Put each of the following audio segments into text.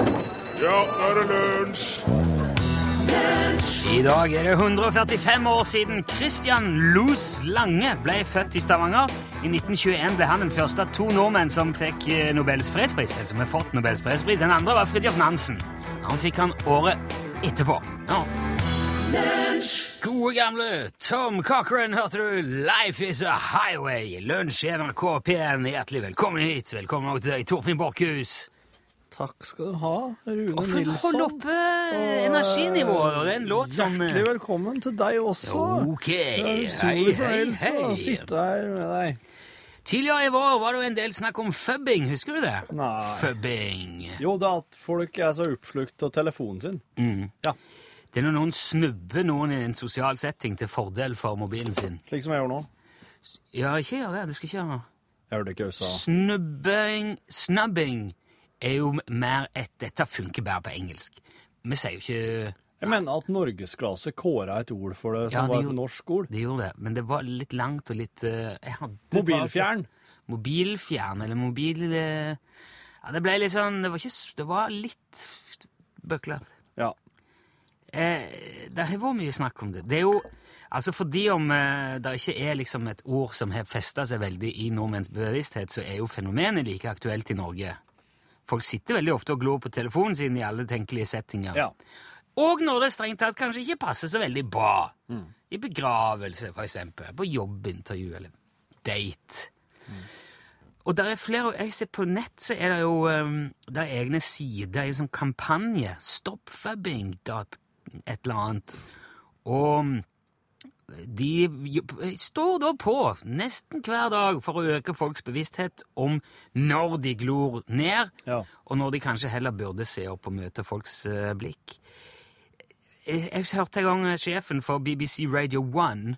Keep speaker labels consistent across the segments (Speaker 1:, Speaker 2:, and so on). Speaker 1: Ja, nå er det lunsj!
Speaker 2: I dag er det 145 år siden Christian Loos Lange ble født i Stavanger. I 1921 ble han den første av to nordmenn som fikk eh, Nobels fredspris. eller Som har fått Nobels fredspris. Den andre var Fridtjof Nansen. Han fikk han året etterpå. Ja. Gode gamle Tom Cochran, hørte du? Life is a highway. Lunsj i NRK P1. Hjertelig velkommen hit. Velkommen også til deg, Torfinn Borkhus.
Speaker 3: Takk skal du ha, Rune
Speaker 2: Og for å
Speaker 3: Nilsson.
Speaker 2: holde oppe eh, energinivået. Det er en låt som eh,
Speaker 3: Hjertelig velkommen til deg også.
Speaker 2: Ok.
Speaker 3: Det er en
Speaker 2: Hei,
Speaker 3: stor
Speaker 2: hei,
Speaker 3: fornøyelse altså. å
Speaker 2: hei.
Speaker 3: sitte her med deg.
Speaker 2: Tidligere i vår var det jo en del snakk om fubbing, husker du det?
Speaker 3: Nei.
Speaker 2: Fubbing.
Speaker 3: Jo, det er at folk er så oppslukt av telefonen sin. Ja,
Speaker 2: Det er når noen snubber noen i en sosial setting til fordel for mobilen sin.
Speaker 3: slik som jeg gjør nå.
Speaker 2: Ja, ikke gjør det. Du skal ikke gjøre det.
Speaker 3: Jeg hørte ikke USA.
Speaker 2: Snubbing, snubbing er jo mer et Dette funker bare på engelsk. Vi sier jo ikke
Speaker 3: Jeg mener at norgesklasse kåra et ord for det som
Speaker 2: Ja, det
Speaker 3: var et
Speaker 2: gjorde-
Speaker 3: norsk ord.
Speaker 2: Det gjorde det, men det var litt langt og litt eh, jeg hadde
Speaker 3: Mobilfjern.
Speaker 2: mobilfjern eller mobil eh, Ja, det ble litt sånn Det var, ikke, s- det var litt bøklete.
Speaker 3: Ja.
Speaker 2: Eh, det har vært mye snakk om det. Det er jo Altså fordi om eh, det ikke er liksom et ord som har festa seg veldig i nordmenns bevissthet, så er jo fenomenet like aktuelt i Norge. Folk sitter veldig ofte og glor på telefonen sin i alle tenkelige settinger.
Speaker 3: ja.
Speaker 2: Og når det strengt tatt kanskje ikke passer så veldig bra. I begravelse, for eksempel. På jobbintervju eller date. Og der er flere, jeg ser på nett så er det jo um, det er egne sider, en sånn kampanje, stoppfubbing, dot- et eller annet. Og um, de jo- står da på nesten hver dag for å øke folks bevissthet om når de glor ned,
Speaker 3: Ja.
Speaker 2: og når de kanskje heller burde se opp og møte folks eh, blikk. Jeg, jeg hørte en gang eh, sjefen for BBC Radio 1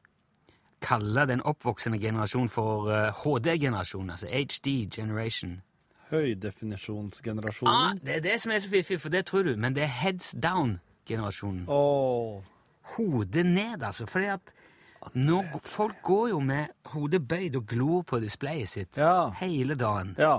Speaker 2: kalle den oppvoksende generasjonen for eh, HD-generasjon, altså HD generation. Ah,
Speaker 3: Høydefinisjonsgenerasjonen.
Speaker 2: det er det som er så fiffig, for det tror du, men det er heads down-generasjonen.
Speaker 3: Åh.
Speaker 2: Hodet ned, altså, fordi at nå, g- folk går jo med hodet bøyd og glor på displayet sitt
Speaker 3: Ja.
Speaker 2: hele dagen.
Speaker 3: Ja.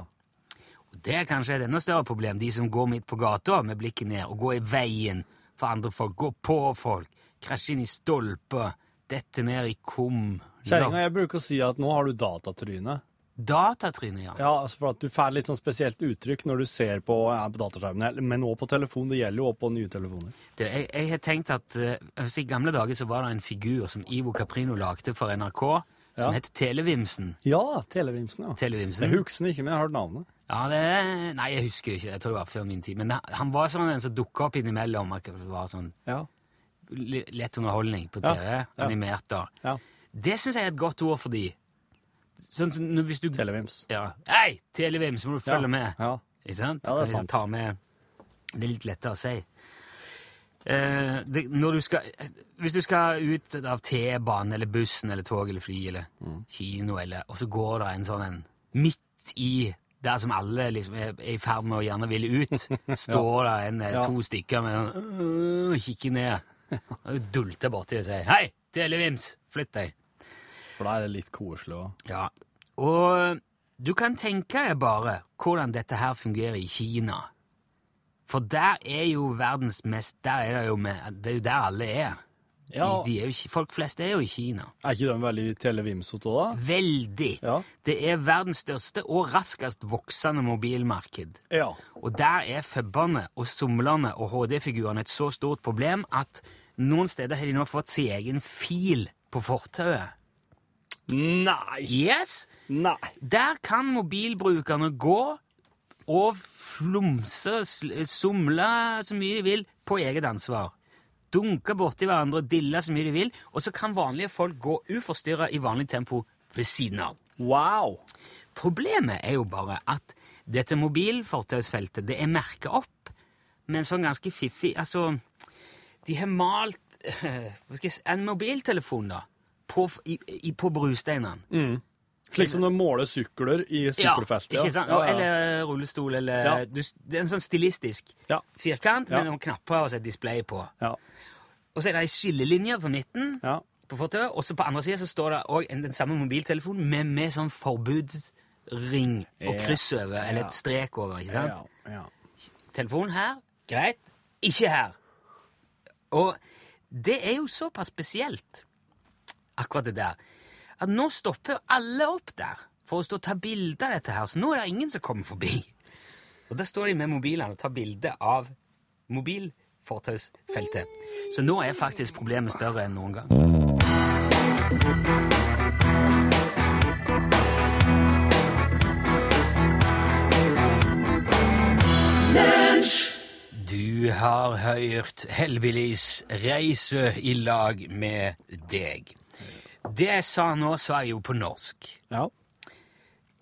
Speaker 2: Det er kanskje et enda større problem, de som går midt på gata med blikket ned og går i veien for andre folk, går på folk, krasjer inn i stolper, detter ned i kum.
Speaker 3: Kjerringa, jeg bruker å si at nå har du datatryne.
Speaker 2: Datatrynet, ja.
Speaker 3: Ja, altså for at du får litt sånn spesielt uttrykk når du ser på, ja, på dataskjermen, men også på telefon. Det gjelder jo også på nye telefoner.
Speaker 2: Du, jeg, jeg har tenkt at eh, altså, I gamle dager så var det en figur som Ivo Caprino lagde for NRK, som
Speaker 3: Ja.
Speaker 2: het Televimsen.
Speaker 3: Ja, Televimsen, ja. Jeg
Speaker 2: Televimsen.
Speaker 3: husker ikke, men jeg har hørt navnet.
Speaker 2: Ja, det, nei, jeg husker ikke. Jeg tror det var før min tid. Men han- han var sånn en som dukka opp innimellom. og Var sånn
Speaker 3: Ja.
Speaker 2: li- lett underholdning på
Speaker 3: Ja,
Speaker 2: TV.
Speaker 3: ja.
Speaker 2: Animert, da.
Speaker 3: ja.
Speaker 2: Det syns jeg er et godt ord for de. Sånn som når- hvis du
Speaker 3: Televims.
Speaker 2: Ja. Hei, Televim, så må du følge
Speaker 3: ja.
Speaker 2: med.
Speaker 3: Ja.
Speaker 2: Ikke sant?
Speaker 3: Ja, det er
Speaker 2: Liksom
Speaker 3: sant.
Speaker 2: Ta med Det er litt lettere å si. Eh, det, når du skal, hvis du skal ut av T-banen eller bussen eller tog eller fly eller
Speaker 3: Mm.
Speaker 2: kino, eller, og så går det en sånn en midt i der som alle liksom er, er i ferd med å gjerne ville ut, står det en, eh,
Speaker 3: Ja.
Speaker 2: to stykker med en øh, kikker ned. Og dulter borti og sier 'Hei, Televims, flytt deg'.
Speaker 3: For da er det litt koselig òg.
Speaker 2: Ja, og du kan tenke deg bare hvordan dette her fungerer i Kina. For der er jo verdens mest Der er det jo med Det er jo der alle er.
Speaker 3: Ja.
Speaker 2: De er jo, ikke- folk flest er jo i Kina.
Speaker 3: Er ikke den veldig televimsete òg, da?
Speaker 2: Veldig.
Speaker 3: Ja.
Speaker 2: Det er verdens største og raskest voksende mobilmarked.
Speaker 3: Ja.
Speaker 2: Og der er fubbene og somlene og HD-figurene et så stort problem at noen steder har de nå fått sin egen fil på fortauet.
Speaker 3: Nei!
Speaker 2: Yes!
Speaker 3: Nei!
Speaker 2: Der kan mobilbrukerne gå og flumse, sl- somle så mye de vil på eget ansvar. Dunke borti hverandre, dille så mye de vil, og så kan vanlige folk gå uforstyrra i vanlig tempo ved siden av.
Speaker 3: Wow!
Speaker 2: Problemet er jo bare at dette mobilfortausfeltet det er merka opp med en sånn ganske fiffig Altså, de har malt eh, hva skal jeg si, en mobiltelefon da, på, f- i, i, på brusteinene.
Speaker 3: Slik som du måler sykler i sykkelfeltet.
Speaker 2: Ja, ikke sant?
Speaker 3: Ja, ja, ja.
Speaker 2: Eller rullestol, eller
Speaker 3: Ja.
Speaker 2: du, Det er en sånn stilistisk
Speaker 3: Ja.
Speaker 2: firkant
Speaker 3: Ja.
Speaker 2: med noen knapper og så et display på.
Speaker 3: ja.
Speaker 2: Og så er det ei skillelinje på midten,
Speaker 3: ja.
Speaker 2: på fortauet, og så på andre sida står det òg den samme mobiltelefonen, men med sånn forbudsring og
Speaker 3: Ja.
Speaker 2: kryss over, eller
Speaker 3: Ja.
Speaker 2: et strek over. ikke sant?
Speaker 3: ja. ja.
Speaker 2: Telefon her, Greit? Ikke her. Og det er jo såpass spesielt, akkurat det der, at nå stopper alle opp der for å stå og ta bilde av dette her, så nå er det ingen som kommer forbi. Og der står de med mobilene og tar bilde av mobilfortausfeltet. Så nå er faktisk problemet større enn noen gang. Du har hørt Hellbillies reise i lag med deg. Det jeg sa nå, sa jeg jo på norsk.
Speaker 3: Ja.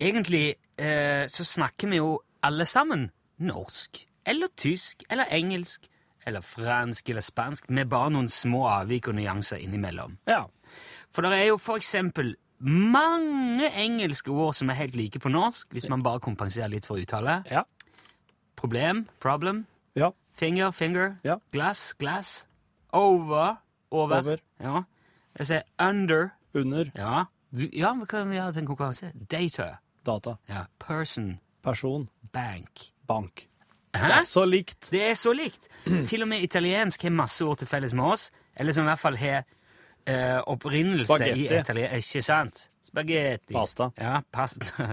Speaker 2: Egentlig eh, så snakker vi jo alle sammen norsk, eller tysk, eller engelsk, eller fransk, eller spansk, med bare noen små avvik og nyanser innimellom.
Speaker 3: ja.
Speaker 2: For det er jo for eksempel mange engelske ord som er helt like på norsk, hvis man bare kompenserer litt for uttale.
Speaker 3: Ja.
Speaker 2: Problem, problem,
Speaker 3: Ja.
Speaker 2: finger, finger,
Speaker 3: Ja.
Speaker 2: glass, glass, over, over.
Speaker 3: Over.
Speaker 2: Ja. Jeg sier under,
Speaker 3: Under.
Speaker 2: ja. Du, ja, vi kan gjøre til en konkurranse. Data,
Speaker 3: Data.
Speaker 2: ja. person,
Speaker 3: Person.
Speaker 2: bank.
Speaker 3: Bank. Det
Speaker 2: Hæ?
Speaker 3: er så likt.
Speaker 2: Det er så likt. Til og med italiensk har masse ord til felles med oss, eller som i hvert fall har eh, opprinnelse i
Speaker 3: Spagetti.
Speaker 2: italiensk. Ikke sant? Spagetti.
Speaker 3: Pasta.
Speaker 2: Ja, pasta.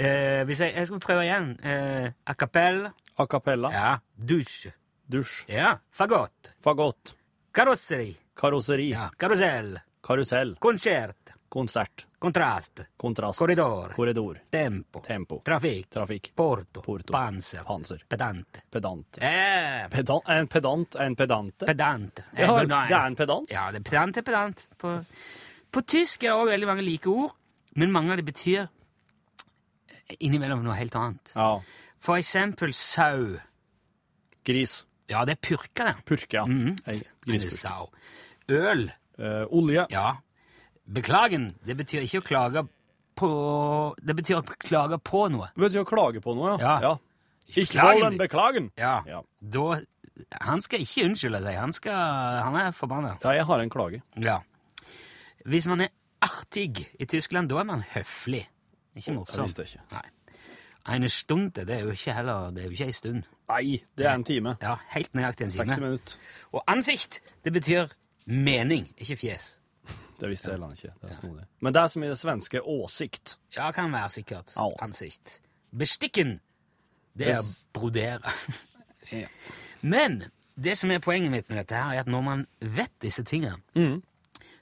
Speaker 2: Eh, hvis jeg, jeg skal prøve igjen. Uh, a cappella.
Speaker 3: A cappella.
Speaker 2: Ja. Dusj.
Speaker 3: Dusj.
Speaker 2: Ja. Fagott.
Speaker 3: Fagott.
Speaker 2: Karosseri.
Speaker 3: Karosseri.
Speaker 2: Ja. Karusell.
Speaker 3: Karusell.
Speaker 2: Konsert.
Speaker 3: Konsert.
Speaker 2: Kontrast.
Speaker 3: Kontrast.
Speaker 2: Korridor.
Speaker 3: Korridor.
Speaker 2: Tempo.
Speaker 3: Tempo.
Speaker 2: Trafikk.
Speaker 3: Trafikk.
Speaker 2: Porto.
Speaker 3: Porto.
Speaker 2: Panser.
Speaker 3: Panser.
Speaker 2: Pedante.
Speaker 3: Pedant.
Speaker 2: Eh,
Speaker 3: Pedan en pedant er en pedante.
Speaker 2: Pedant.
Speaker 3: Ja,
Speaker 2: Eh,
Speaker 3: det er en pedant.
Speaker 2: Ja, det er pedant er pedant. På, på tysk er det også veldig mange like ord, men mange av det betyr eh, innimellom noe helt annet.
Speaker 3: Ja.
Speaker 2: For eksempel sau.
Speaker 3: Gris.
Speaker 2: Ja, det er purka, det.
Speaker 3: Purke, ja.
Speaker 2: Mm.
Speaker 3: Ei,
Speaker 2: Men det er
Speaker 3: Grispurke.
Speaker 2: sau. Øl.
Speaker 3: Eh, olje.
Speaker 2: Ja. Beklagen. Det betyr ikke å klage på Det betyr å klage på noe.
Speaker 3: Det betyr å klage på noe, ja.
Speaker 2: Ja.
Speaker 3: Ikke
Speaker 2: Beklagen.
Speaker 3: hold den beklagen.
Speaker 2: Ja.
Speaker 3: Ja.
Speaker 2: Da Han skal ikke unnskylde seg. Han, skal, han er forbanna.
Speaker 3: Ja, jeg har en klage.
Speaker 2: Ja. Hvis man er artig i Tyskland, da er man høflig. Ikke morsom.
Speaker 3: visste jeg ikke.
Speaker 2: Nei. En stund, det er jo ikke heller Det er jo ikke ei stund.
Speaker 3: Nei, det er en time.
Speaker 2: Ja, Helt nøyaktig en
Speaker 3: 60
Speaker 2: time.
Speaker 3: minutter.
Speaker 2: Og ansikt, det betyr mening, ikke fjes.
Speaker 3: Det visste jeg heller ikke. Det er snodig. Men det er som i det svenske åsikt.
Speaker 2: Ja, kan være sikkert.
Speaker 3: Au.
Speaker 2: Ansikt. Bestikken, det er
Speaker 3: Bes-
Speaker 2: brodere.
Speaker 3: Ja.
Speaker 2: Men det som er poenget mitt med dette her, er at når man vet disse tingene,
Speaker 3: Mm.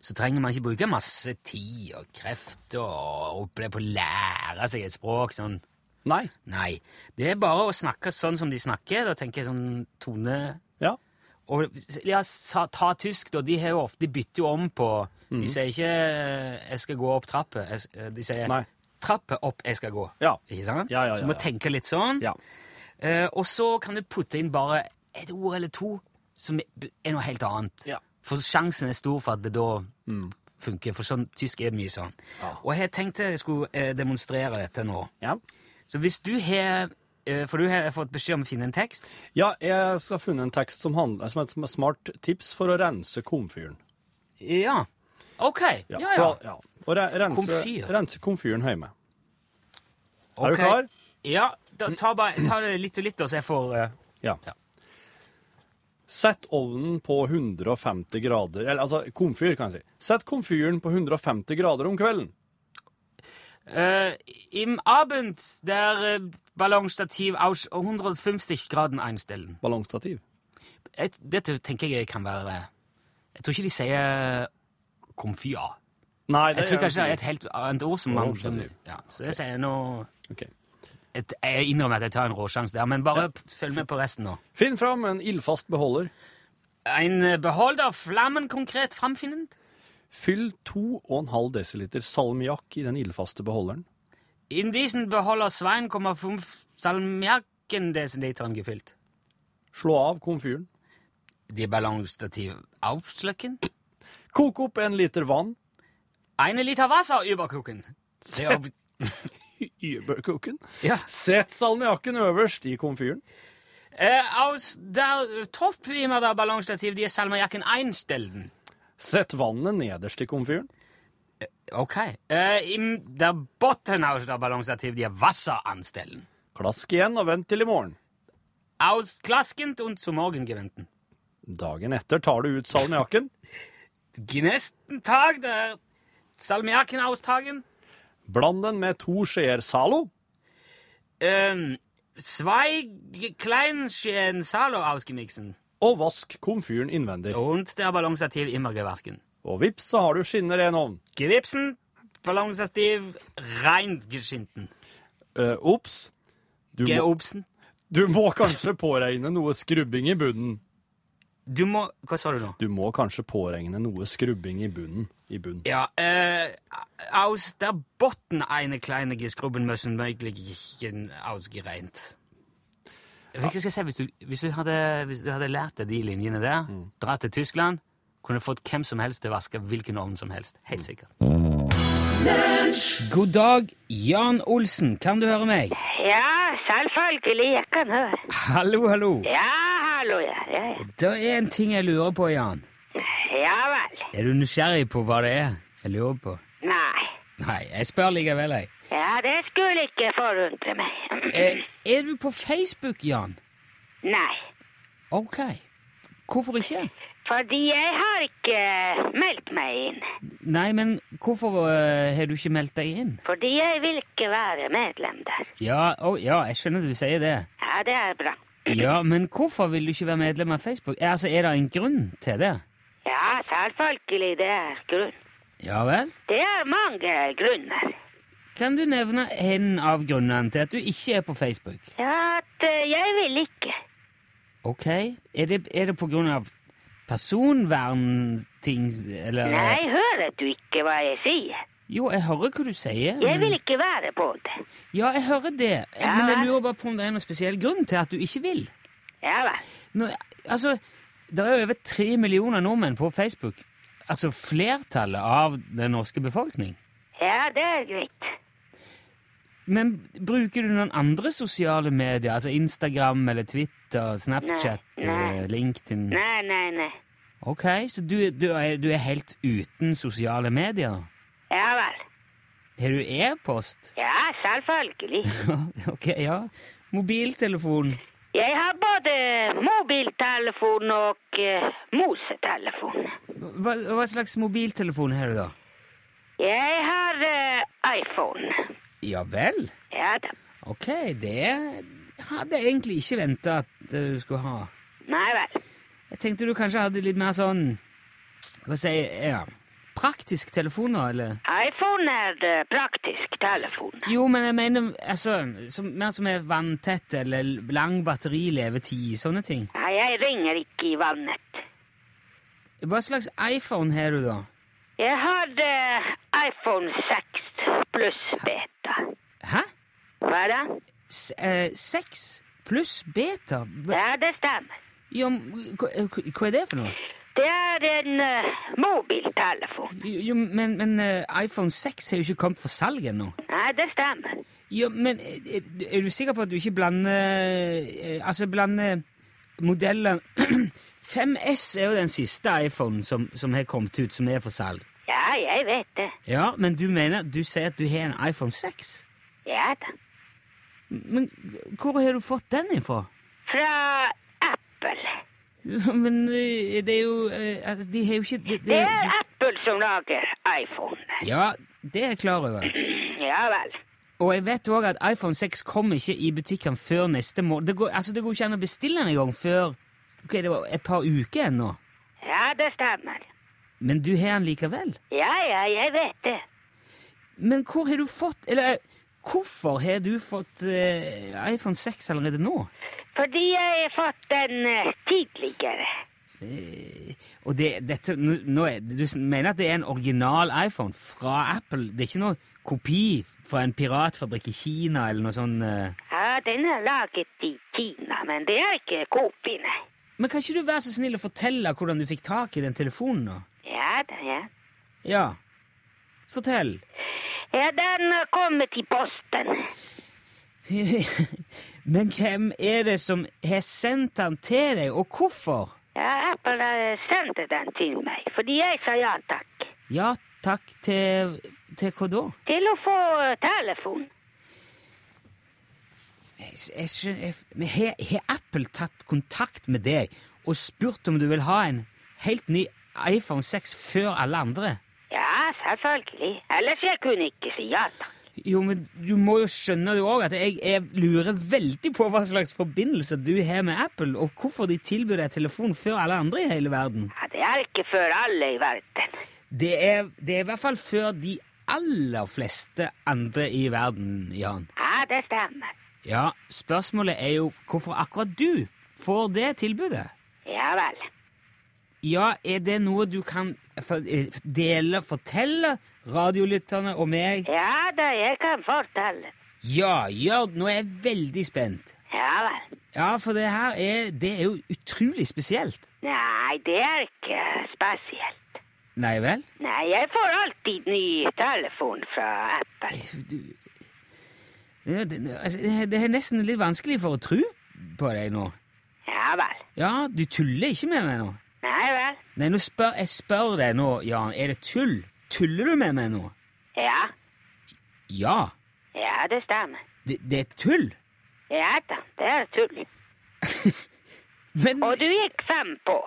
Speaker 2: så trenger man ikke bruke masse tid og krefter og oppleve på å lære seg et språk sånn.
Speaker 3: Nei.
Speaker 2: Nei, det er bare å snakke sånn som de snakker, da tenker jeg sånn tone...
Speaker 3: Ja.
Speaker 2: Og ja, sa, ta tysk, da, de, har jo ofte, de bytter jo om på
Speaker 3: Mhm.
Speaker 2: De sier ikke eh, 'jeg skal gå opp trappet', jeg s- eh, de sier
Speaker 3: Nei.
Speaker 2: 'trappet opp, jeg skal gå'.
Speaker 3: Ja.
Speaker 2: Ikke sant?
Speaker 3: Ja, ja, ja,
Speaker 2: så du må
Speaker 3: ja.
Speaker 2: tenke litt sånn.
Speaker 3: Ja.
Speaker 2: Eh, og så kan du putte inn bare et ord eller to som er noe helt annet.
Speaker 3: Ja. Mm.
Speaker 2: For sjansen er stor for at det da funker, for sånn, tysk er mye sånn.
Speaker 3: Ja.
Speaker 2: Og jeg tenkte jeg skulle eh, demonstrere dette nå.
Speaker 3: Ja.
Speaker 2: Så hvis du har eh, For du har fått beskjed om å finne en tekst.
Speaker 3: ja, jeg skal ha funnet en tekst som, handler, som er et som er smart tips for å rense komfyren.
Speaker 2: Ja. OK. Ja, ja.
Speaker 3: for- ja. Og re rense,
Speaker 2: Komfyr.
Speaker 3: rense komfyren hjemme. Er
Speaker 2: Ok.
Speaker 3: du klar?
Speaker 2: Ja, da, ta, bare, ta det litt og litt, da, så jeg får eh,
Speaker 3: Ja.
Speaker 2: Ja.
Speaker 3: Sett ovnen på 150 grader Eller altså, komfyr, kan jeg si. Sett komfyren på 150 grader om kvelden.
Speaker 2: eh, Im Abend der eh, Ballonstativ aus 150 graden einstellen.
Speaker 3: Ballongstativ.
Speaker 2: Jeg, dette tenker jeg kan være Jeg tror ikke de sier eh, komfyr.
Speaker 3: Nei,
Speaker 2: Jeg
Speaker 3: gjør
Speaker 2: tror
Speaker 3: jeg
Speaker 2: kanskje det er
Speaker 3: ikke.
Speaker 2: et helt annet ord som man
Speaker 3: Ballonstativ.
Speaker 2: Ja, så jeg sier nå
Speaker 3: Ok.
Speaker 2: et, Jeg innrømmer at jeg tar en råsjanse der, men bare p- følg med på resten nå.
Speaker 3: Finn fram en ildfast beholder.
Speaker 2: En eh, beholder flammen konkret framfinnend.
Speaker 3: Fyll 2,5 dl salmiakk i den ildfaste beholderen.
Speaker 2: In diesen beholder 2,5 salmiakken desiliteren gefylt.
Speaker 3: Slå av komfyren.
Speaker 2: Die Ballonstativ aufschlöcken.
Speaker 3: Kok opp en liter vann.
Speaker 2: Eine Liter Wasser übergucken. Sehr ob-
Speaker 3: Überkoken.
Speaker 2: Ja.
Speaker 3: Sett salmiakken øverst i komfyren.
Speaker 2: Äh, aus der Topf, wie immer der Ballonstativ, die Salmajacken einstellen.
Speaker 3: Sett vannet nederst i komfyren.
Speaker 2: Okay. Äh, im, der Botten aus der Ballonstativ, die Wasser anstellen.
Speaker 3: Klask igjen og vent til i morgen.
Speaker 2: ausklaskend und zum Morgengewinnten.
Speaker 3: Dagen etter tar du ut salmiakken,
Speaker 2: Gnesten Tag der Salmiaken austagen.
Speaker 3: bland den med to skjeer Zalo,
Speaker 2: Ähm, zwei ge- Kleinscheren äh, Salo ausgemixen.
Speaker 3: og vask komfyren innvendig.
Speaker 2: Und der Ballonstativ immer gewaschen.
Speaker 3: Og vips, så har du skinner i en ovn.
Speaker 2: Gewipsen, Ballonstativ rein geschinden.
Speaker 3: Eh, Ops, du, må-
Speaker 2: Geobsen.
Speaker 3: du må kanskje påregne noe skrubbing i bunnen.
Speaker 2: Du må Hva sa du nå?
Speaker 3: Du må kanskje påregne noe skrubbing i bunnen. I bunnen.
Speaker 2: Ja, äh, aus der Botten eine kleine geskrubben müssen möglichchen ausgereint. Jeg skal si, hvis, du, hvis, du hadde, hvis du hadde lært deg de linjene der, dratt til Tyskland, kunne fått hvem som helst til å vaske hvilken ovn som helst. Helt sikkert. Mhm. God dag, Jan Olsen. Kan du høre meg?
Speaker 4: Ja, selvfølgelig. Jeg kan høre.
Speaker 2: Hallo, hallo.
Speaker 4: Ja, hallo, ja. Ja, ja.
Speaker 2: Det er en ting jeg lurer på, Jan.
Speaker 4: ja vel.
Speaker 2: Er du nysgjerrig på hva det er jeg lurer på?
Speaker 4: Nei.
Speaker 2: Nei, jeg spør likevel, jeg.
Speaker 4: Ja, det skulle ikke forundre meg.
Speaker 2: Eh, er du på Facebook, Jan?
Speaker 4: Nei.
Speaker 2: Ok. Hvorfor ikke?
Speaker 4: Fordi jeg har ikke meldt meg inn.
Speaker 2: Nei, men hvorfor eh, har du ikke meldt deg inn?
Speaker 4: Fordi jeg vil ikke være medlem der.
Speaker 2: Ja, å, ja, jeg skjønner du sier det.
Speaker 4: Ja, det er bra.
Speaker 2: Ja, men hvorfor vil du ikke være medlem av Facebook? Eh, Altså, Er det en grunn til det?
Speaker 4: Ja, selvfølgelig. Det er grunn.
Speaker 2: Ja vel?
Speaker 4: Det er mange grunner.
Speaker 2: Kan du nevne en av grunnene til at du ikke er på Facebook?
Speaker 4: Ja, at eh, jeg vil ikke.
Speaker 2: Ok. Er det, er det på grunn av personvernting, eller
Speaker 4: Nei, hører du ikke hva jeg sier?
Speaker 2: Jo, jeg hører hva du sier.
Speaker 4: Jeg
Speaker 2: men-
Speaker 4: vil ikke være på det.
Speaker 2: Ja, jeg hører det.
Speaker 4: Ja.
Speaker 2: Men jeg lurer bare på om det er noen spesiell grunn til at du ikke vil.
Speaker 4: Ja vel.
Speaker 2: Nå, altså, det er jo over tre millioner nordmenn på Facebook. Altså flertallet av den norske befolkning.
Speaker 4: Ja, det er greit.
Speaker 2: Men bruker du noen andre sosiale medier? Altså Instagram eller Twitter, Snapchat,
Speaker 4: Nei, nei.
Speaker 2: eh, LinkedIn?
Speaker 4: Nei, nei, nei.
Speaker 2: Ok, så du, du, er, du er helt uten sosiale medier?
Speaker 4: Ja vel.
Speaker 2: Har du e-post?
Speaker 4: Ja, selvfølgelig.
Speaker 2: ok, ja. Mobiltelefon?
Speaker 4: Jeg har både mobiltelefon og eh, mosetelefon.
Speaker 2: Hva, hva slags mobiltelefon har du, da?
Speaker 4: Jeg har eh, iPhone.
Speaker 2: Ja vel?
Speaker 4: Ja da.
Speaker 2: Ok, det hadde jeg egentlig ikke venta at eh, du skulle ha.
Speaker 4: Nei vel.
Speaker 2: Jeg tenkte du kanskje hadde litt mer sånn Hva skal jeg si ja, Praktisk telefon, da, eller?
Speaker 4: iPhone er eh, praktisk telefon.
Speaker 2: Jo, men jeg mener altså, som, mer som er vanntett eller lang batterilevetid, sånne ting.
Speaker 4: Ja, jeg ringer ikke i vannet.
Speaker 2: Hva slags iPhone har du, da?
Speaker 4: Jeg har eh, iPhone 6 pluss beta.
Speaker 2: Hæ?
Speaker 4: Hva da?
Speaker 2: S eh, 6 pluss beta? Hva,
Speaker 4: Ja, det stemmer.
Speaker 2: ja, men hva, hva er det for noe?
Speaker 4: Det er en eh, mobiltelefon.
Speaker 2: Jo, men, men eh, iPhone 6 har jo ikke kommet for salg ennå.
Speaker 4: Nei, det stemmer.
Speaker 2: Ja, men er, er du sikker på at du ikke blander eh, Altså, blander modellen 5S er jo den siste iPhonen som, som har kommet ut, som er for salg.
Speaker 4: Ja, jeg vet det.
Speaker 2: Ja, Men du mener du sier at du har en iPhone 6?
Speaker 4: Ja da.
Speaker 2: Men hvor har du fått den ifra?
Speaker 4: Fra Apple.
Speaker 2: Ja, Men eh, det er jo eh, altså, De har jo ikke det-
Speaker 4: Det
Speaker 2: det-
Speaker 4: er Apple som lager iPhone.
Speaker 2: Ja, det er jeg klar over.
Speaker 4: Ja vel.
Speaker 2: Og jeg vet òg at iPhone 6 kommer ikke i butikkene før neste måned. Det går, altså, det går ikke an å bestille den engang før ok, det var et par uker ennå.
Speaker 4: Ja, det stemmer.
Speaker 2: Men du har den likevel?
Speaker 4: Ja, ja, jeg vet det.
Speaker 2: Men hvor har du fått Eller eh, hvorfor har du fått eh, iPhone 6 allerede nå?
Speaker 4: Fordi jeg har fått den eh, tidligere.
Speaker 2: Og det, dette, nå, nå er, Du s- mener at det er en original iPhone fra Apple? Det er ikke noe kopi fra en piratfabrikk i Kina eller noe sånn eh.
Speaker 4: Ja, den er laget i Kina, men det er ikke kopi, nei.
Speaker 2: Men kan ikke du være så snill å fortelle hvordan du fikk tak i den telefonen? nå?
Speaker 4: Ja da, ja.
Speaker 2: Ja. Fortell.
Speaker 4: Ja, den har kommet i posten.
Speaker 2: Men hvem er det som har sendt den til deg, og hvorfor?
Speaker 4: Ja, Apple eh, sendte den til meg, fordi jeg sa ja takk.
Speaker 2: Ja takk til Til hva da?
Speaker 4: Til å få eh, telefon.
Speaker 2: Jeg, jeg, skjønner- jeg, men har, har Apple tatt kontakt med deg og spurt om du vil ha en helt ny iPhone 6 før alle andre?
Speaker 4: Ja, selvfølgelig. Ellers jeg kunne ikke si ja takk.
Speaker 2: Jo, men du må jo skjønne du også at jeg, jeg lurer veldig på hva slags forbindelse du har med Apple, og hvorfor de tilbyr deg telefon før alle andre i hele verden.
Speaker 4: Ja, det er ikke før alle i verden.
Speaker 2: Det er, det er i hvert fall før de aller fleste andre i verden, Jan.
Speaker 4: Ja, det stemmer.
Speaker 2: Ja, spørsmålet er jo hvorfor akkurat du får det tilbudet.
Speaker 4: Ja vel.
Speaker 2: Ja, er det noe du kan for- eh, dele, fortelle radiolytterne og meg?
Speaker 4: Ja da, jeg kan fortelle.
Speaker 2: Ja, gjør Nå er jeg veldig spent.
Speaker 4: Ja vel.
Speaker 2: Ja, for det her er, det er jo utrolig spesielt.
Speaker 4: Nei, det er ikke spesielt.
Speaker 2: Nei vel?
Speaker 4: Nei, jeg får alltid ny telefon fra Apple.
Speaker 2: Du, ja, det, altså, det er nesten litt vanskelig for å tro på deg nå.
Speaker 4: Ja vel.
Speaker 2: Ja, du tuller ikke med meg nå.
Speaker 4: Nei vel.
Speaker 2: Nei, nå spør, jeg spør deg nå, Jan, er det tull? Tuller du med meg nå?
Speaker 4: Ja.
Speaker 2: Ja,
Speaker 4: Ja, det stemmer.
Speaker 2: det, det er tull.
Speaker 4: Ja da, det er tull.
Speaker 2: Men
Speaker 4: Og du gikk fem på.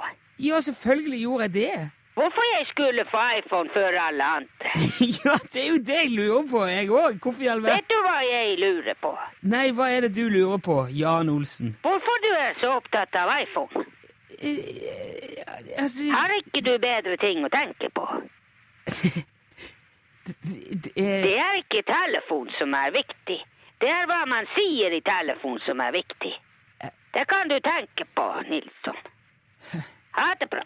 Speaker 2: Ja, selvfølgelig gjorde jeg det.
Speaker 4: Hvorfor jeg skulle få iPhone før alle andre?
Speaker 2: ja, det er jo det jeg lurer på, jeg òg. Hvorfor i all verden
Speaker 4: Vet du hva jeg lurer på?
Speaker 2: Nei, hva er det du lurer på, Jan Olsen?
Speaker 4: Hvorfor du er så opptatt av iPhone?
Speaker 2: Altså
Speaker 4: Har ikke du bedre ting å tenke på?
Speaker 2: det er-
Speaker 4: Det er ikke telefon som er viktig. Det er hva man sier i telefon som er viktig. Det kan du tenke på, Nilsson. Ha det bra.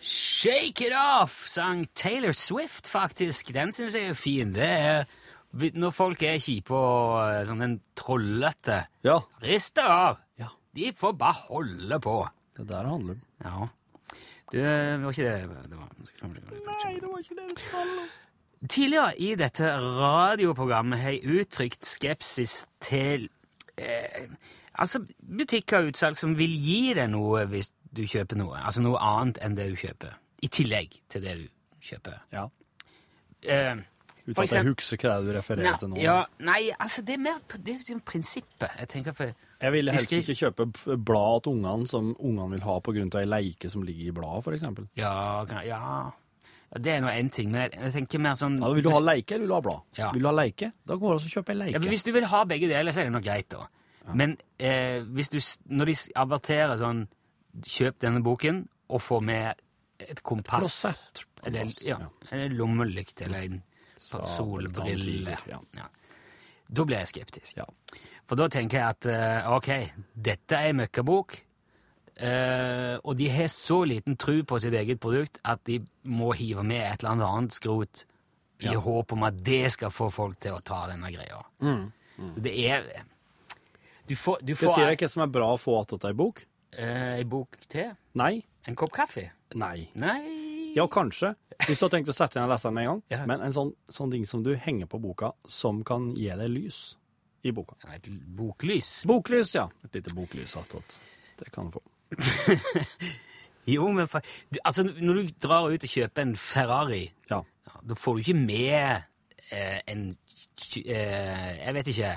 Speaker 2: Shake It Off sang Taylor Swift, faktisk. Den syns jeg er fin. Det er vi- når folk er kjipe og eh, sånn en trollete.
Speaker 3: Ja.
Speaker 2: Rist det av!
Speaker 3: Ja.
Speaker 2: De får bare holde på.
Speaker 3: Det der det handler om.
Speaker 2: Ja. Du, det var ikke det det var. Nei, det var ikke det Tidligere i dette radioprogrammet har jeg uttrykt skepsis til eh, altså butikker og utsalg som vil gi deg noe hvis du kjøper noe. Altså noe annet enn det du kjøper. I tillegg til det du kjøper.
Speaker 3: Ja.
Speaker 2: Eh,
Speaker 3: Uten
Speaker 2: for
Speaker 3: at jeg
Speaker 2: eksempel-
Speaker 3: husker hva du refererer til nå.
Speaker 2: Nei, ja, nei, altså det er mer på- det er liksom prinsippet. Jeg tenker for...
Speaker 3: Jeg ville helst
Speaker 2: Diskri-
Speaker 3: ikke kjøpe f- blad til ungene som ungene vil ha på grunn av ei leike som ligger i bladet, for eksempel.
Speaker 2: Ja, kan- ja. ja Det er nå én ting, men jeg, jeg tenker mer sånn
Speaker 3: Ja, vil du ha leike, eller vil du ha blad?
Speaker 2: Ja.
Speaker 3: Vil du ha leike? Da går det altså å kjøpe ei leike.
Speaker 2: Ja, men hvis du vil ha begge deler, så er det nok greit, da. Men eh, hvis du, s- når de s- averterer sånn 'kjøp denne boken' og får med et kompass
Speaker 3: Klosett.
Speaker 2: Eller,
Speaker 3: Kompass,
Speaker 2: ja,
Speaker 3: ja.
Speaker 2: eller en lommelykt eller en sånn
Speaker 3: Sabel,
Speaker 2: solbrille.
Speaker 3: danntiger, ja.
Speaker 2: Ja. Da blir jeg skeptisk.
Speaker 3: Ja.
Speaker 2: For da tenker jeg at eh, ok, dette er en møkkabok, eh, og de har så liten tru på sitt eget produkt at de må hive med et eller annet annet skrot i håp om at det skal få folk til å ta denne greia. Så det er Du får, du
Speaker 3: Mm, Det
Speaker 2: får
Speaker 3: sier jeg ikke som er bra å få attåt ei bok.
Speaker 2: eh, en bok til.
Speaker 3: Nei.
Speaker 2: En kopp kaffe.
Speaker 3: Nei.
Speaker 2: Nei
Speaker 3: Ja, kanskje. Hvis du har tenkt å sette igjen og lese den med en gang.
Speaker 2: Ja.
Speaker 3: Men en sånn, sånn ting som du henger på boka, som kan gi deg lys i boka.
Speaker 2: Et boklys.
Speaker 3: Boklys, ja. Et lite boklys attåt. Det kan du få.
Speaker 2: Jo, men fa- du, altså, når du drar ut og kjøper en Ferrari
Speaker 3: Ja.
Speaker 2: Ja, da får du ikke med eh, en tj- eh, Jeg vet ikke.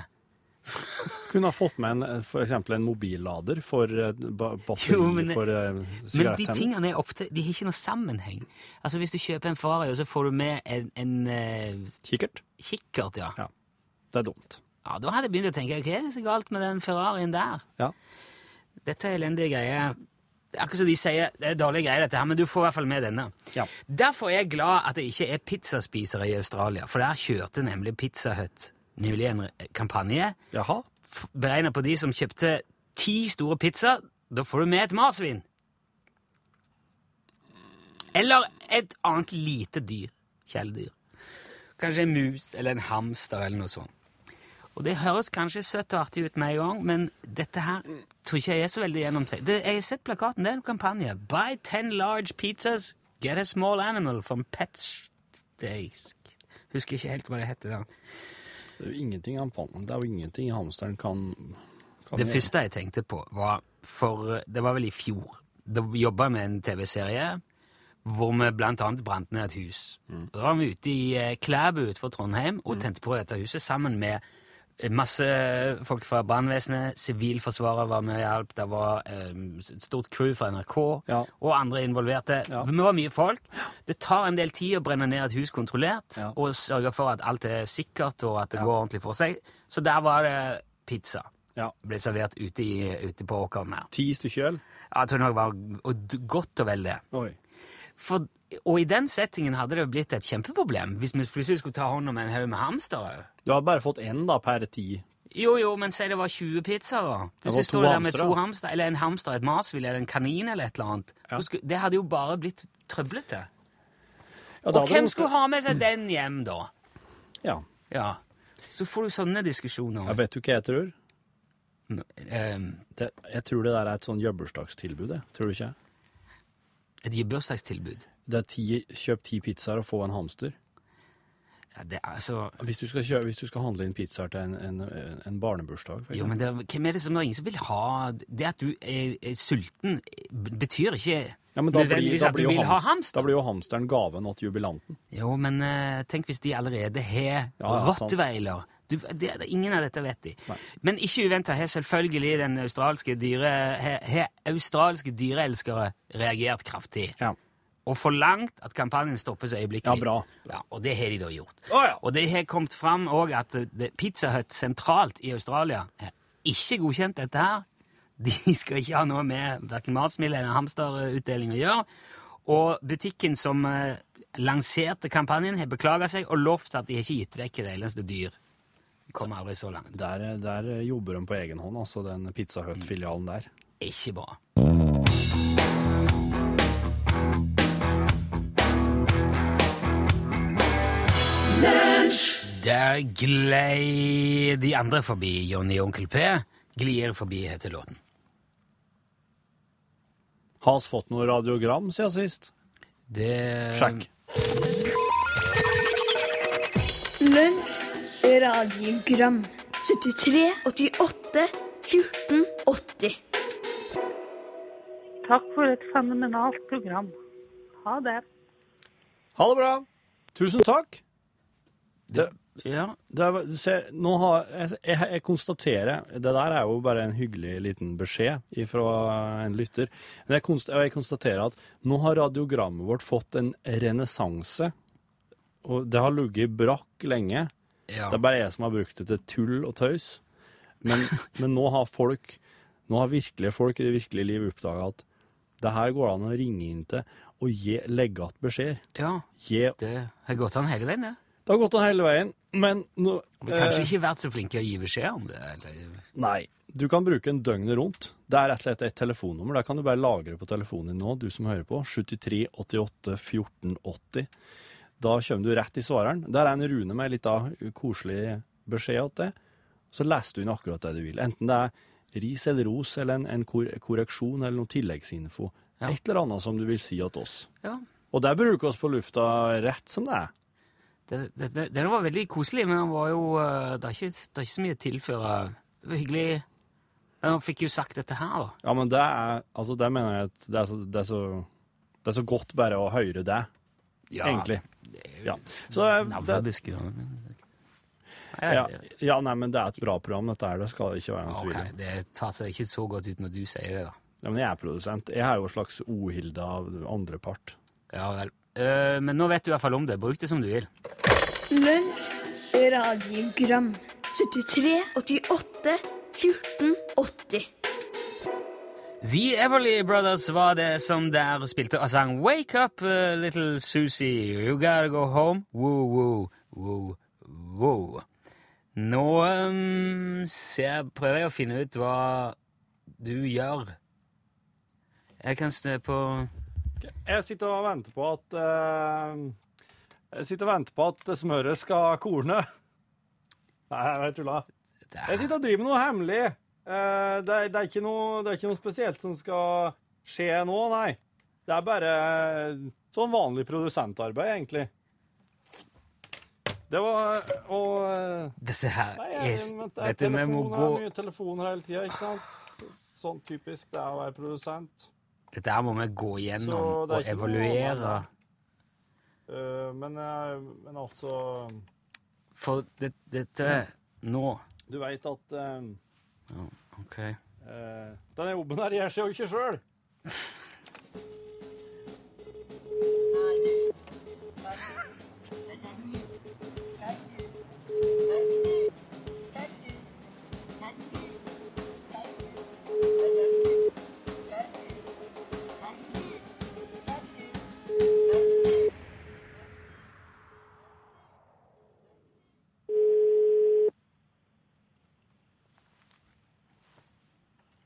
Speaker 3: Kunne ha fått med en, eh, for eksempel en mobillader for eh, ba- batteri
Speaker 2: Jo, men-
Speaker 3: for eh,
Speaker 2: Men de
Speaker 3: sigarettenner.
Speaker 2: tingene er opptil, de har ikke noe sammenheng. Altså Hvis du kjøper en Ferrari, og så får du med en, en eh,
Speaker 3: Kikkert.
Speaker 2: kikkert, ja.
Speaker 3: Ja. Det er dumt.
Speaker 2: ja Da hadde jeg begynt å tenke hva er det så galt med den Ferrarien der?
Speaker 3: Ja.
Speaker 2: Dette er elendige greier. Det er Akkurat som de sier, det er dårlige greier, dette her, men du får i hvert fall med denne.
Speaker 3: Ja.
Speaker 2: Derfor er jeg glad at det ikke er pizzaspisere i Australia, for der kjørte nemlig Pizza Hut nylig en re- kampanje.
Speaker 3: Jaha.
Speaker 2: beregna på de som kjøpte ti store pizzaer. Da får du med et marsvin. Eller et annet lite dyr. Kjæledyr. Kanskje en mus eller en hamster eller noe sånt. Og det høres kanskje søtt og artig ut med en gang, men dette her tror ikke jeg er så veldig gjennomtenkt. Det- Jeg har sett plakaten, det er en kampanje. Buy ten large pizzas, get a small animal from Pets Days. Husker ikke helt hva det heter. da.
Speaker 3: Det er jo ingenting, han fant- det er jo ingenting hamsteren kan, kan
Speaker 2: Det
Speaker 3: gjøre.
Speaker 2: første jeg eh, tenkte på var for Det var vel i fjor. Da jobba jeg med en TV-serie hvor vi blant annet brant ned et hus.
Speaker 3: Mm.
Speaker 2: Og Da var vi ute i eh, Klæbu utenfor Trondheim og tente på dette huset sammen med eh, masse folk fra brannvesenet, sivilforsvaret var med og hjalp, det var eh, et stort crew fra NRK
Speaker 3: Ja.
Speaker 2: og andre involverte.
Speaker 3: Ja.
Speaker 2: Vi var mye folk. Det tar en del tid å brenne ned et hus kontrollert
Speaker 3: Ja.
Speaker 2: og sørge for at alt er sikkert og at det går ordentlig for seg. Så der var det pizza.
Speaker 3: Ja.
Speaker 2: Ble servert ute, i, ute på åkeren her.
Speaker 3: Ti stykker øl?
Speaker 2: Jeg tror nok det var og d- godt og vel det.
Speaker 3: Oi.
Speaker 2: For, og i den settingen hadde det jo blitt et kjempeproblem hvis vi plutselig skulle ta hånd om en haug med hamstere.
Speaker 3: Du har bare fått én da, per ti.
Speaker 2: Jo, jo, men si det var 20 pizzaer. da. Plutselig
Speaker 3: to
Speaker 2: står du der med
Speaker 3: hamstere.
Speaker 2: to hamster, eller en hamster, et marsvin eller en kanin eller et eller annet.
Speaker 3: Ja.
Speaker 2: Hvor sku- Det hadde jo bare blitt trøblete.
Speaker 3: Ja, da
Speaker 2: Og
Speaker 3: hadde
Speaker 2: hvem
Speaker 3: du-
Speaker 2: skulle ha med seg den hjem, da?
Speaker 3: Ja.
Speaker 2: Ja. Så får du sånne diskusjoner.
Speaker 3: Jeg vet du hva jeg tror?
Speaker 2: Ehm,
Speaker 3: Det, jeg tror det der er et sånn jøbbelsdagstilbud, det. Tror du ikke?
Speaker 2: Et gebursdagstilbud.
Speaker 3: Det er ti, kjøp ti pizzaer og få en hamster.
Speaker 2: Ja, det er altså...
Speaker 3: Hvis du skal, kjø, hvis du skal handle inn pizzaer til en, en, en barnebursdag, for
Speaker 2: Jo,
Speaker 3: eksempel.
Speaker 2: men det, er- hvem er det som det er ingen som vil ha Det at du er, er sulten, eh, betyr ikke
Speaker 3: Ja, men da blir,
Speaker 2: nødvendigvis
Speaker 3: da,
Speaker 2: at du
Speaker 3: blir jo
Speaker 2: vil ha
Speaker 3: hamster,
Speaker 2: hamster.
Speaker 3: da blir jo hamsteren gaven til jubilanten.
Speaker 2: Jo, men eh, tenk hvis de allerede har
Speaker 3: ja,
Speaker 2: rottweiler. Du, det, det, ingen av dette vet de. Men ikke uventa har selvfølgelig den australske dyre, har- har australske dyreelskere reagert kraftig.
Speaker 3: Ja.
Speaker 2: Og forlangt at kampanjen stoppes øyeblikkelig.
Speaker 3: Ja, bra.
Speaker 2: Ja, og det har de da gjort.
Speaker 3: Å, ja.
Speaker 2: Og det har kommet fram òg at eh, det- Pizza Hut sentralt i Australia har ikke godkjent dette her. De skal ikke ha noe med verken matsmiddel eller hamsterutdeling å gjøre. Og butikken som eh, lanserte kampanjen, har beklaga seg og lovt at de har ikke gitt vekk et eneste dyr. De Kommer aldri så langt.
Speaker 3: Der, der jobber de på egen hånd, altså den Pizza Hut-filialen der.
Speaker 2: Ikke bra. Der glei de andre forbi. Johnny og Onkel P glir forbi, heter låten.
Speaker 3: Har vi fått noe radiogram siden sist?
Speaker 2: Det
Speaker 3: Sjekk.
Speaker 5: Lunsj, radiogram 73, 88, 14, 80
Speaker 6: Takk for et fenomenalt program. Ha det.
Speaker 3: Ha det bra! Tusen takk! Det,
Speaker 2: Ja,
Speaker 3: det er, du ser, nå har, jeg, jeg, jeg konstaterer Det der er jo bare en hyggelig liten beskjed fra en lytter. Men jeg, konst, jeg konstaterer at nå har radiogrammet vårt fått en renessanse. Og det har ligget brakk lenge.
Speaker 2: ja.
Speaker 3: Det er bare jeg som har brukt det til tull og tøys. Men, men nå har folk, nå har virkelige folk i det virkelige liv oppdaga at det her går an å ringe inn til og gi, legge igjen beskjeder.
Speaker 2: ja
Speaker 3: Gi
Speaker 2: det har gått an hele veien, det.
Speaker 3: Det har gått an hele veien, men nå
Speaker 2: Vi har
Speaker 3: Eh.
Speaker 2: kanskje ikke vært så flinke å gi beskjed om det. Eller?
Speaker 3: Nei. Du kan bruke en døgnet rundt. Det er rett og slett et telefonnummer. Det kan du bare lagre på telefonen din nå, du som hører på. 73 88 14 80. Da kommer du rett i svareren. Der er en Rune med en liten koselig beskjed til deg. Så leser du inn akkurat det du vil. Enten det er ris eller ros eller en, en kor korreksjon eller noe tilleggsinfo.
Speaker 2: Ja.
Speaker 3: Et eller annet som du vil si til oss.
Speaker 2: Ja.
Speaker 3: Og der bruker vi oss på lufta rett som det er.
Speaker 2: det, det, det, den var veldig koselig, men den var jo, eh, det, er ikke, det er ikke så mye å tilføre. Det var hyggelig. Men han fikk jo sagt dette her, da.
Speaker 3: Ja, men det er Altså, det mener jeg at det er så, det er så, det er så godt bare å høre det. egentlig. Ja. Så eh, det,
Speaker 2: Navnebusker. ja, men- Nei,
Speaker 3: ja,
Speaker 2: det-
Speaker 3: ja, nei, men det er et bra program, dette her. Det skal det ikke være noen
Speaker 2: Ok,
Speaker 3: tvil om.
Speaker 2: det tar seg ikke så godt ut når du sier det, da.
Speaker 3: Ja, men jeg er produsent. Jeg er jo en slags Ohilde av andrepart.
Speaker 2: Ja vel. Eh, men nå vet du i hvert fall om det. Bruk det som du vil.
Speaker 5: Lunsj, radiogram 73, 88, 14, 80
Speaker 2: The Everly Brothers var det som der spilte og sang Wake Up eh, Little Susie, You Gotta Go Home, woo woo woo woo. Nå ehm, ser, prøver jeg å finne ut hva du gjør. Jeg kan stå på
Speaker 3: Jeg sitter og venter på at eh, Jeg sitter og venter på at smøret skal korne. Nei, jeg tulla. Jeg
Speaker 2: der.
Speaker 3: sitter og driver med noe hemmelig. Eh, det, er, det, er ikke noe, det er ikke noe spesielt som skal skje nå, nei. Det er bare sånn vanlig produsentarbeid, egentlig. Det var Og eh,
Speaker 2: Dette her
Speaker 3: Nei,
Speaker 2: er
Speaker 3: jeg, vet, det er
Speaker 2: Vet du, vi må
Speaker 3: telefon, det
Speaker 2: gå
Speaker 3: er mye telefon hele tida, ikke sant? Sånn typisk det er å være produsent.
Speaker 2: Dette her må vi gå gjennom
Speaker 3: Så det er
Speaker 2: og
Speaker 3: ikke noe
Speaker 2: evaluere.
Speaker 3: annet. Eh, men, eh, men altså
Speaker 2: For det, dette nå
Speaker 3: Du veit at eh,
Speaker 2: OK.
Speaker 3: eh, denne jobben her gjør seg jo ikke sjøl.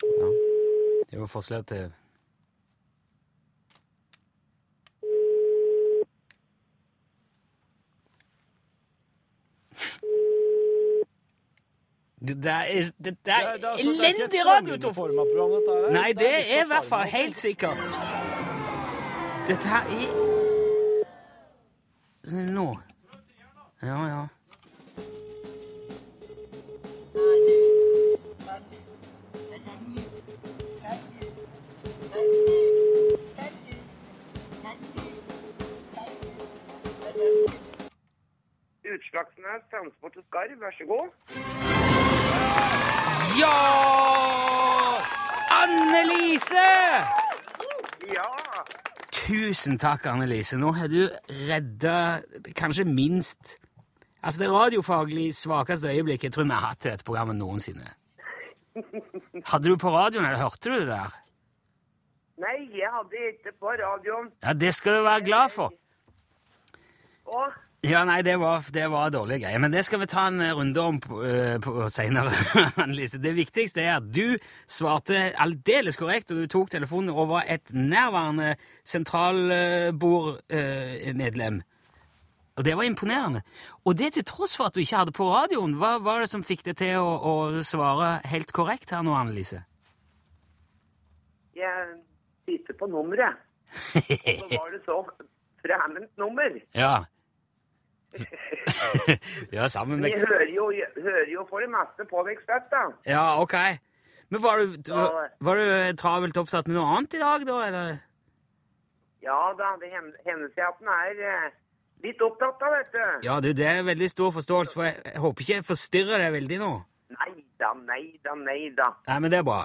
Speaker 2: Ja. Det var forslag til Det der er, det der er
Speaker 3: altså,
Speaker 2: elendig radio, Torfinn! Nei, det er i hvert fall helt sikkert. Dette her er Sånn, Nå. Ja, ja.
Speaker 7: Utslagsnes Transport og Skarv, vær så god.
Speaker 2: Ja! Annelise!
Speaker 7: Ja,
Speaker 2: Tusen takk, Annelise. Nå har du redda kanskje minst Altså, det radiofaglig svakeste øyeblikket jeg tror vi har hatt i dette programmet noensinne. Hadde du på radioen, eller hørte du det der?
Speaker 7: nei, jeg hadde ikke på radioen.
Speaker 2: Ja, det skal du være glad for.
Speaker 7: Og
Speaker 2: Ja, nei, det var, det var dårlige greier. Men det skal vi ta en eh, runde om på, eh, på senere, Annelise. Det viktigste er at du svarte aldeles korrekt, og du tok telefonen og var et nærværende sentralbordmedlem. Og det var imponerende. Og det til tross for at du ikke hadde på radioen. Hva var det som fikk deg til å, å svare helt korrekt her nå, Annelise?
Speaker 7: jeg sitter på nummeret. Og så var det så fremmed nummer.
Speaker 2: Ja. ja, sammen
Speaker 7: Vi
Speaker 2: med
Speaker 7: hører jo, hører jo for det meste på Vekstøtta.
Speaker 2: Ja, ok. Men var du,
Speaker 7: Ja.
Speaker 2: var du eh, travelt opptatt med noe annet i dag, da? Eller?
Speaker 7: Ja da, det hen- hender seg at den er eh, litt opptatt av, vet du.
Speaker 2: Ja, du, det er veldig stor forståelse, for jeg, jeg håper ikke jeg forstyrrer deg veldig nå.
Speaker 7: Nei da, nei da, nei da.
Speaker 2: Nei, men det er bra.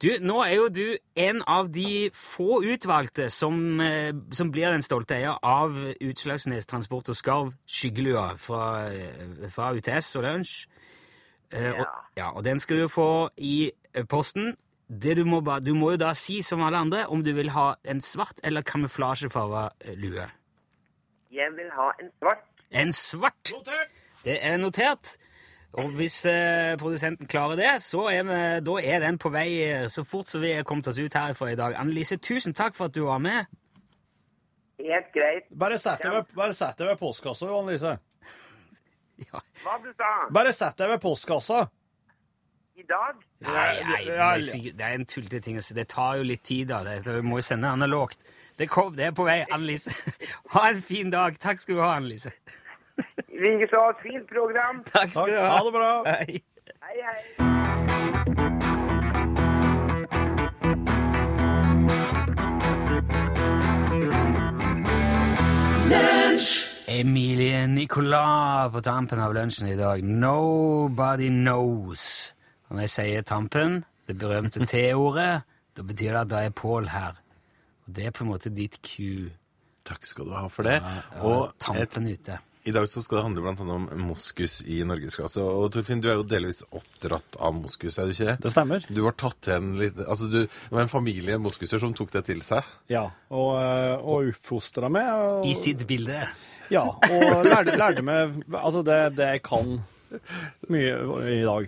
Speaker 2: Du, nå er jo du en av de få utvalgte som, eh, som blir den stolte eier av Utslagsnes Transport og Skarv skyggelua fra, eh, fra UTS og Lunsj. Eh, og, ja, og den skal du få i eh, posten. Det du, må ba, du må jo da si, som alle andre, om du vil ha en svart eller kamuflasjefarga eh, lue.
Speaker 7: Jeg vil ha en svart.
Speaker 2: En svart! Det er notert. Og hvis eh, produsenten klarer det, så er vi, da er den på vei eh, så fort som vi er kommet oss ut herfra i dag. Annelise, tusen takk for at du var med.
Speaker 7: Helt greit.
Speaker 3: Bare sett deg ved, bare sett deg ved postkassa, Johan Lise.
Speaker 2: Ja.
Speaker 7: Hva du sa?
Speaker 3: Bare sett deg ved postkassa.
Speaker 7: I dag?
Speaker 2: Nei, nei, det
Speaker 3: Ja,
Speaker 2: er, sikkert- det er en tullete ting å si. Det tar jo litt tid, da. Det, vi må jo sende analogt. Det, kom, det er på vei, Annelise. Ha en fin dag. Takk skal du ha, Annelise.
Speaker 7: Vi så et fint program.
Speaker 2: Takk skal
Speaker 3: Takk.
Speaker 2: du ha.
Speaker 3: Ha det bra.
Speaker 2: Hei.
Speaker 7: Hei, hei.
Speaker 2: Emilie Nicolas på tampen av lunsjen i dag. Nobody knows. Og når jeg sier tampen, det berømte T-ordet, da betyr det at da er Pål her. Og det er på en måte ditt Q.
Speaker 8: Takk skal du ha for det.
Speaker 2: Og
Speaker 8: Og et,
Speaker 2: tampen ute.
Speaker 8: i dag så skal det handle blant annet om moskus i norgesklasse. Og Torfinn, du er jo delvis oppdratt av moskus, er du ikke det?
Speaker 3: Det stemmer.
Speaker 8: Du var tatt til en litt Altså, du, det var en familie moskuser som tok det til seg.
Speaker 3: Ja, og, eh, og oppfostra meg. og-
Speaker 2: I sitt bilde.
Speaker 3: Ja, og lærte, lærte meg Altså, det, det jeg kan mye i dag.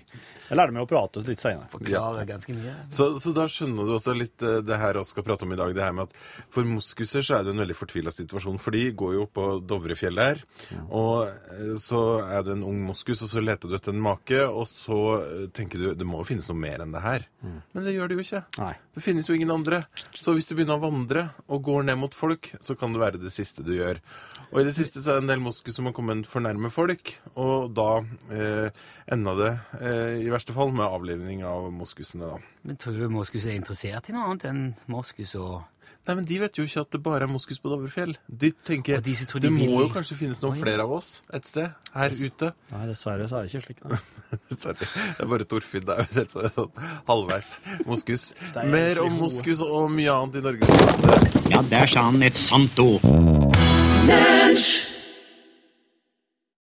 Speaker 3: Jeg lærte meg å prate litt seinere.
Speaker 2: Klarer ganske mye.
Speaker 8: Så, så da skjønner du også litt eh, det her vi skal prate om i dag. det her med at For moskuser så er det en veldig fortvila situasjon. For de går jo på Dovrefjell der. Og eh, så er du en ung moskus, og så leter du etter en make. Og så eh, tenker du det må jo finnes noe mer enn det her. Men det gjør det jo ikke.
Speaker 3: Nei.
Speaker 8: Det finnes jo ingen andre. Så hvis du begynner å vandre og går ned mot folk, så kan det være det siste du gjør. Og i det siste så er det en del moskus som har kommet for nærme folk, og da eh, enda det, eh, i verste fall, med avlivning av moskusene, da.
Speaker 2: Men tror du moskus er interessert i noe annet enn moskus og
Speaker 8: Nei, men De vet jo ikke at det bare er moskus på Dovrefjell. De tenker
Speaker 2: Og de som tror de
Speaker 8: det må
Speaker 2: vil-
Speaker 8: jo kanskje finnes noen
Speaker 2: Å, ja.
Speaker 8: flere av oss et sted her ute.
Speaker 3: Nei, dessverre så er det ikke slik. Nei.
Speaker 8: Sorry. Det er bare Torfinn der. Helt sånn sånn halvveis moskus.
Speaker 3: er
Speaker 8: Mer
Speaker 3: egentlig
Speaker 8: om
Speaker 3: ho-
Speaker 8: moskus og mye annet i Norges klasse.
Speaker 9: Ja, der sa han et sant ord.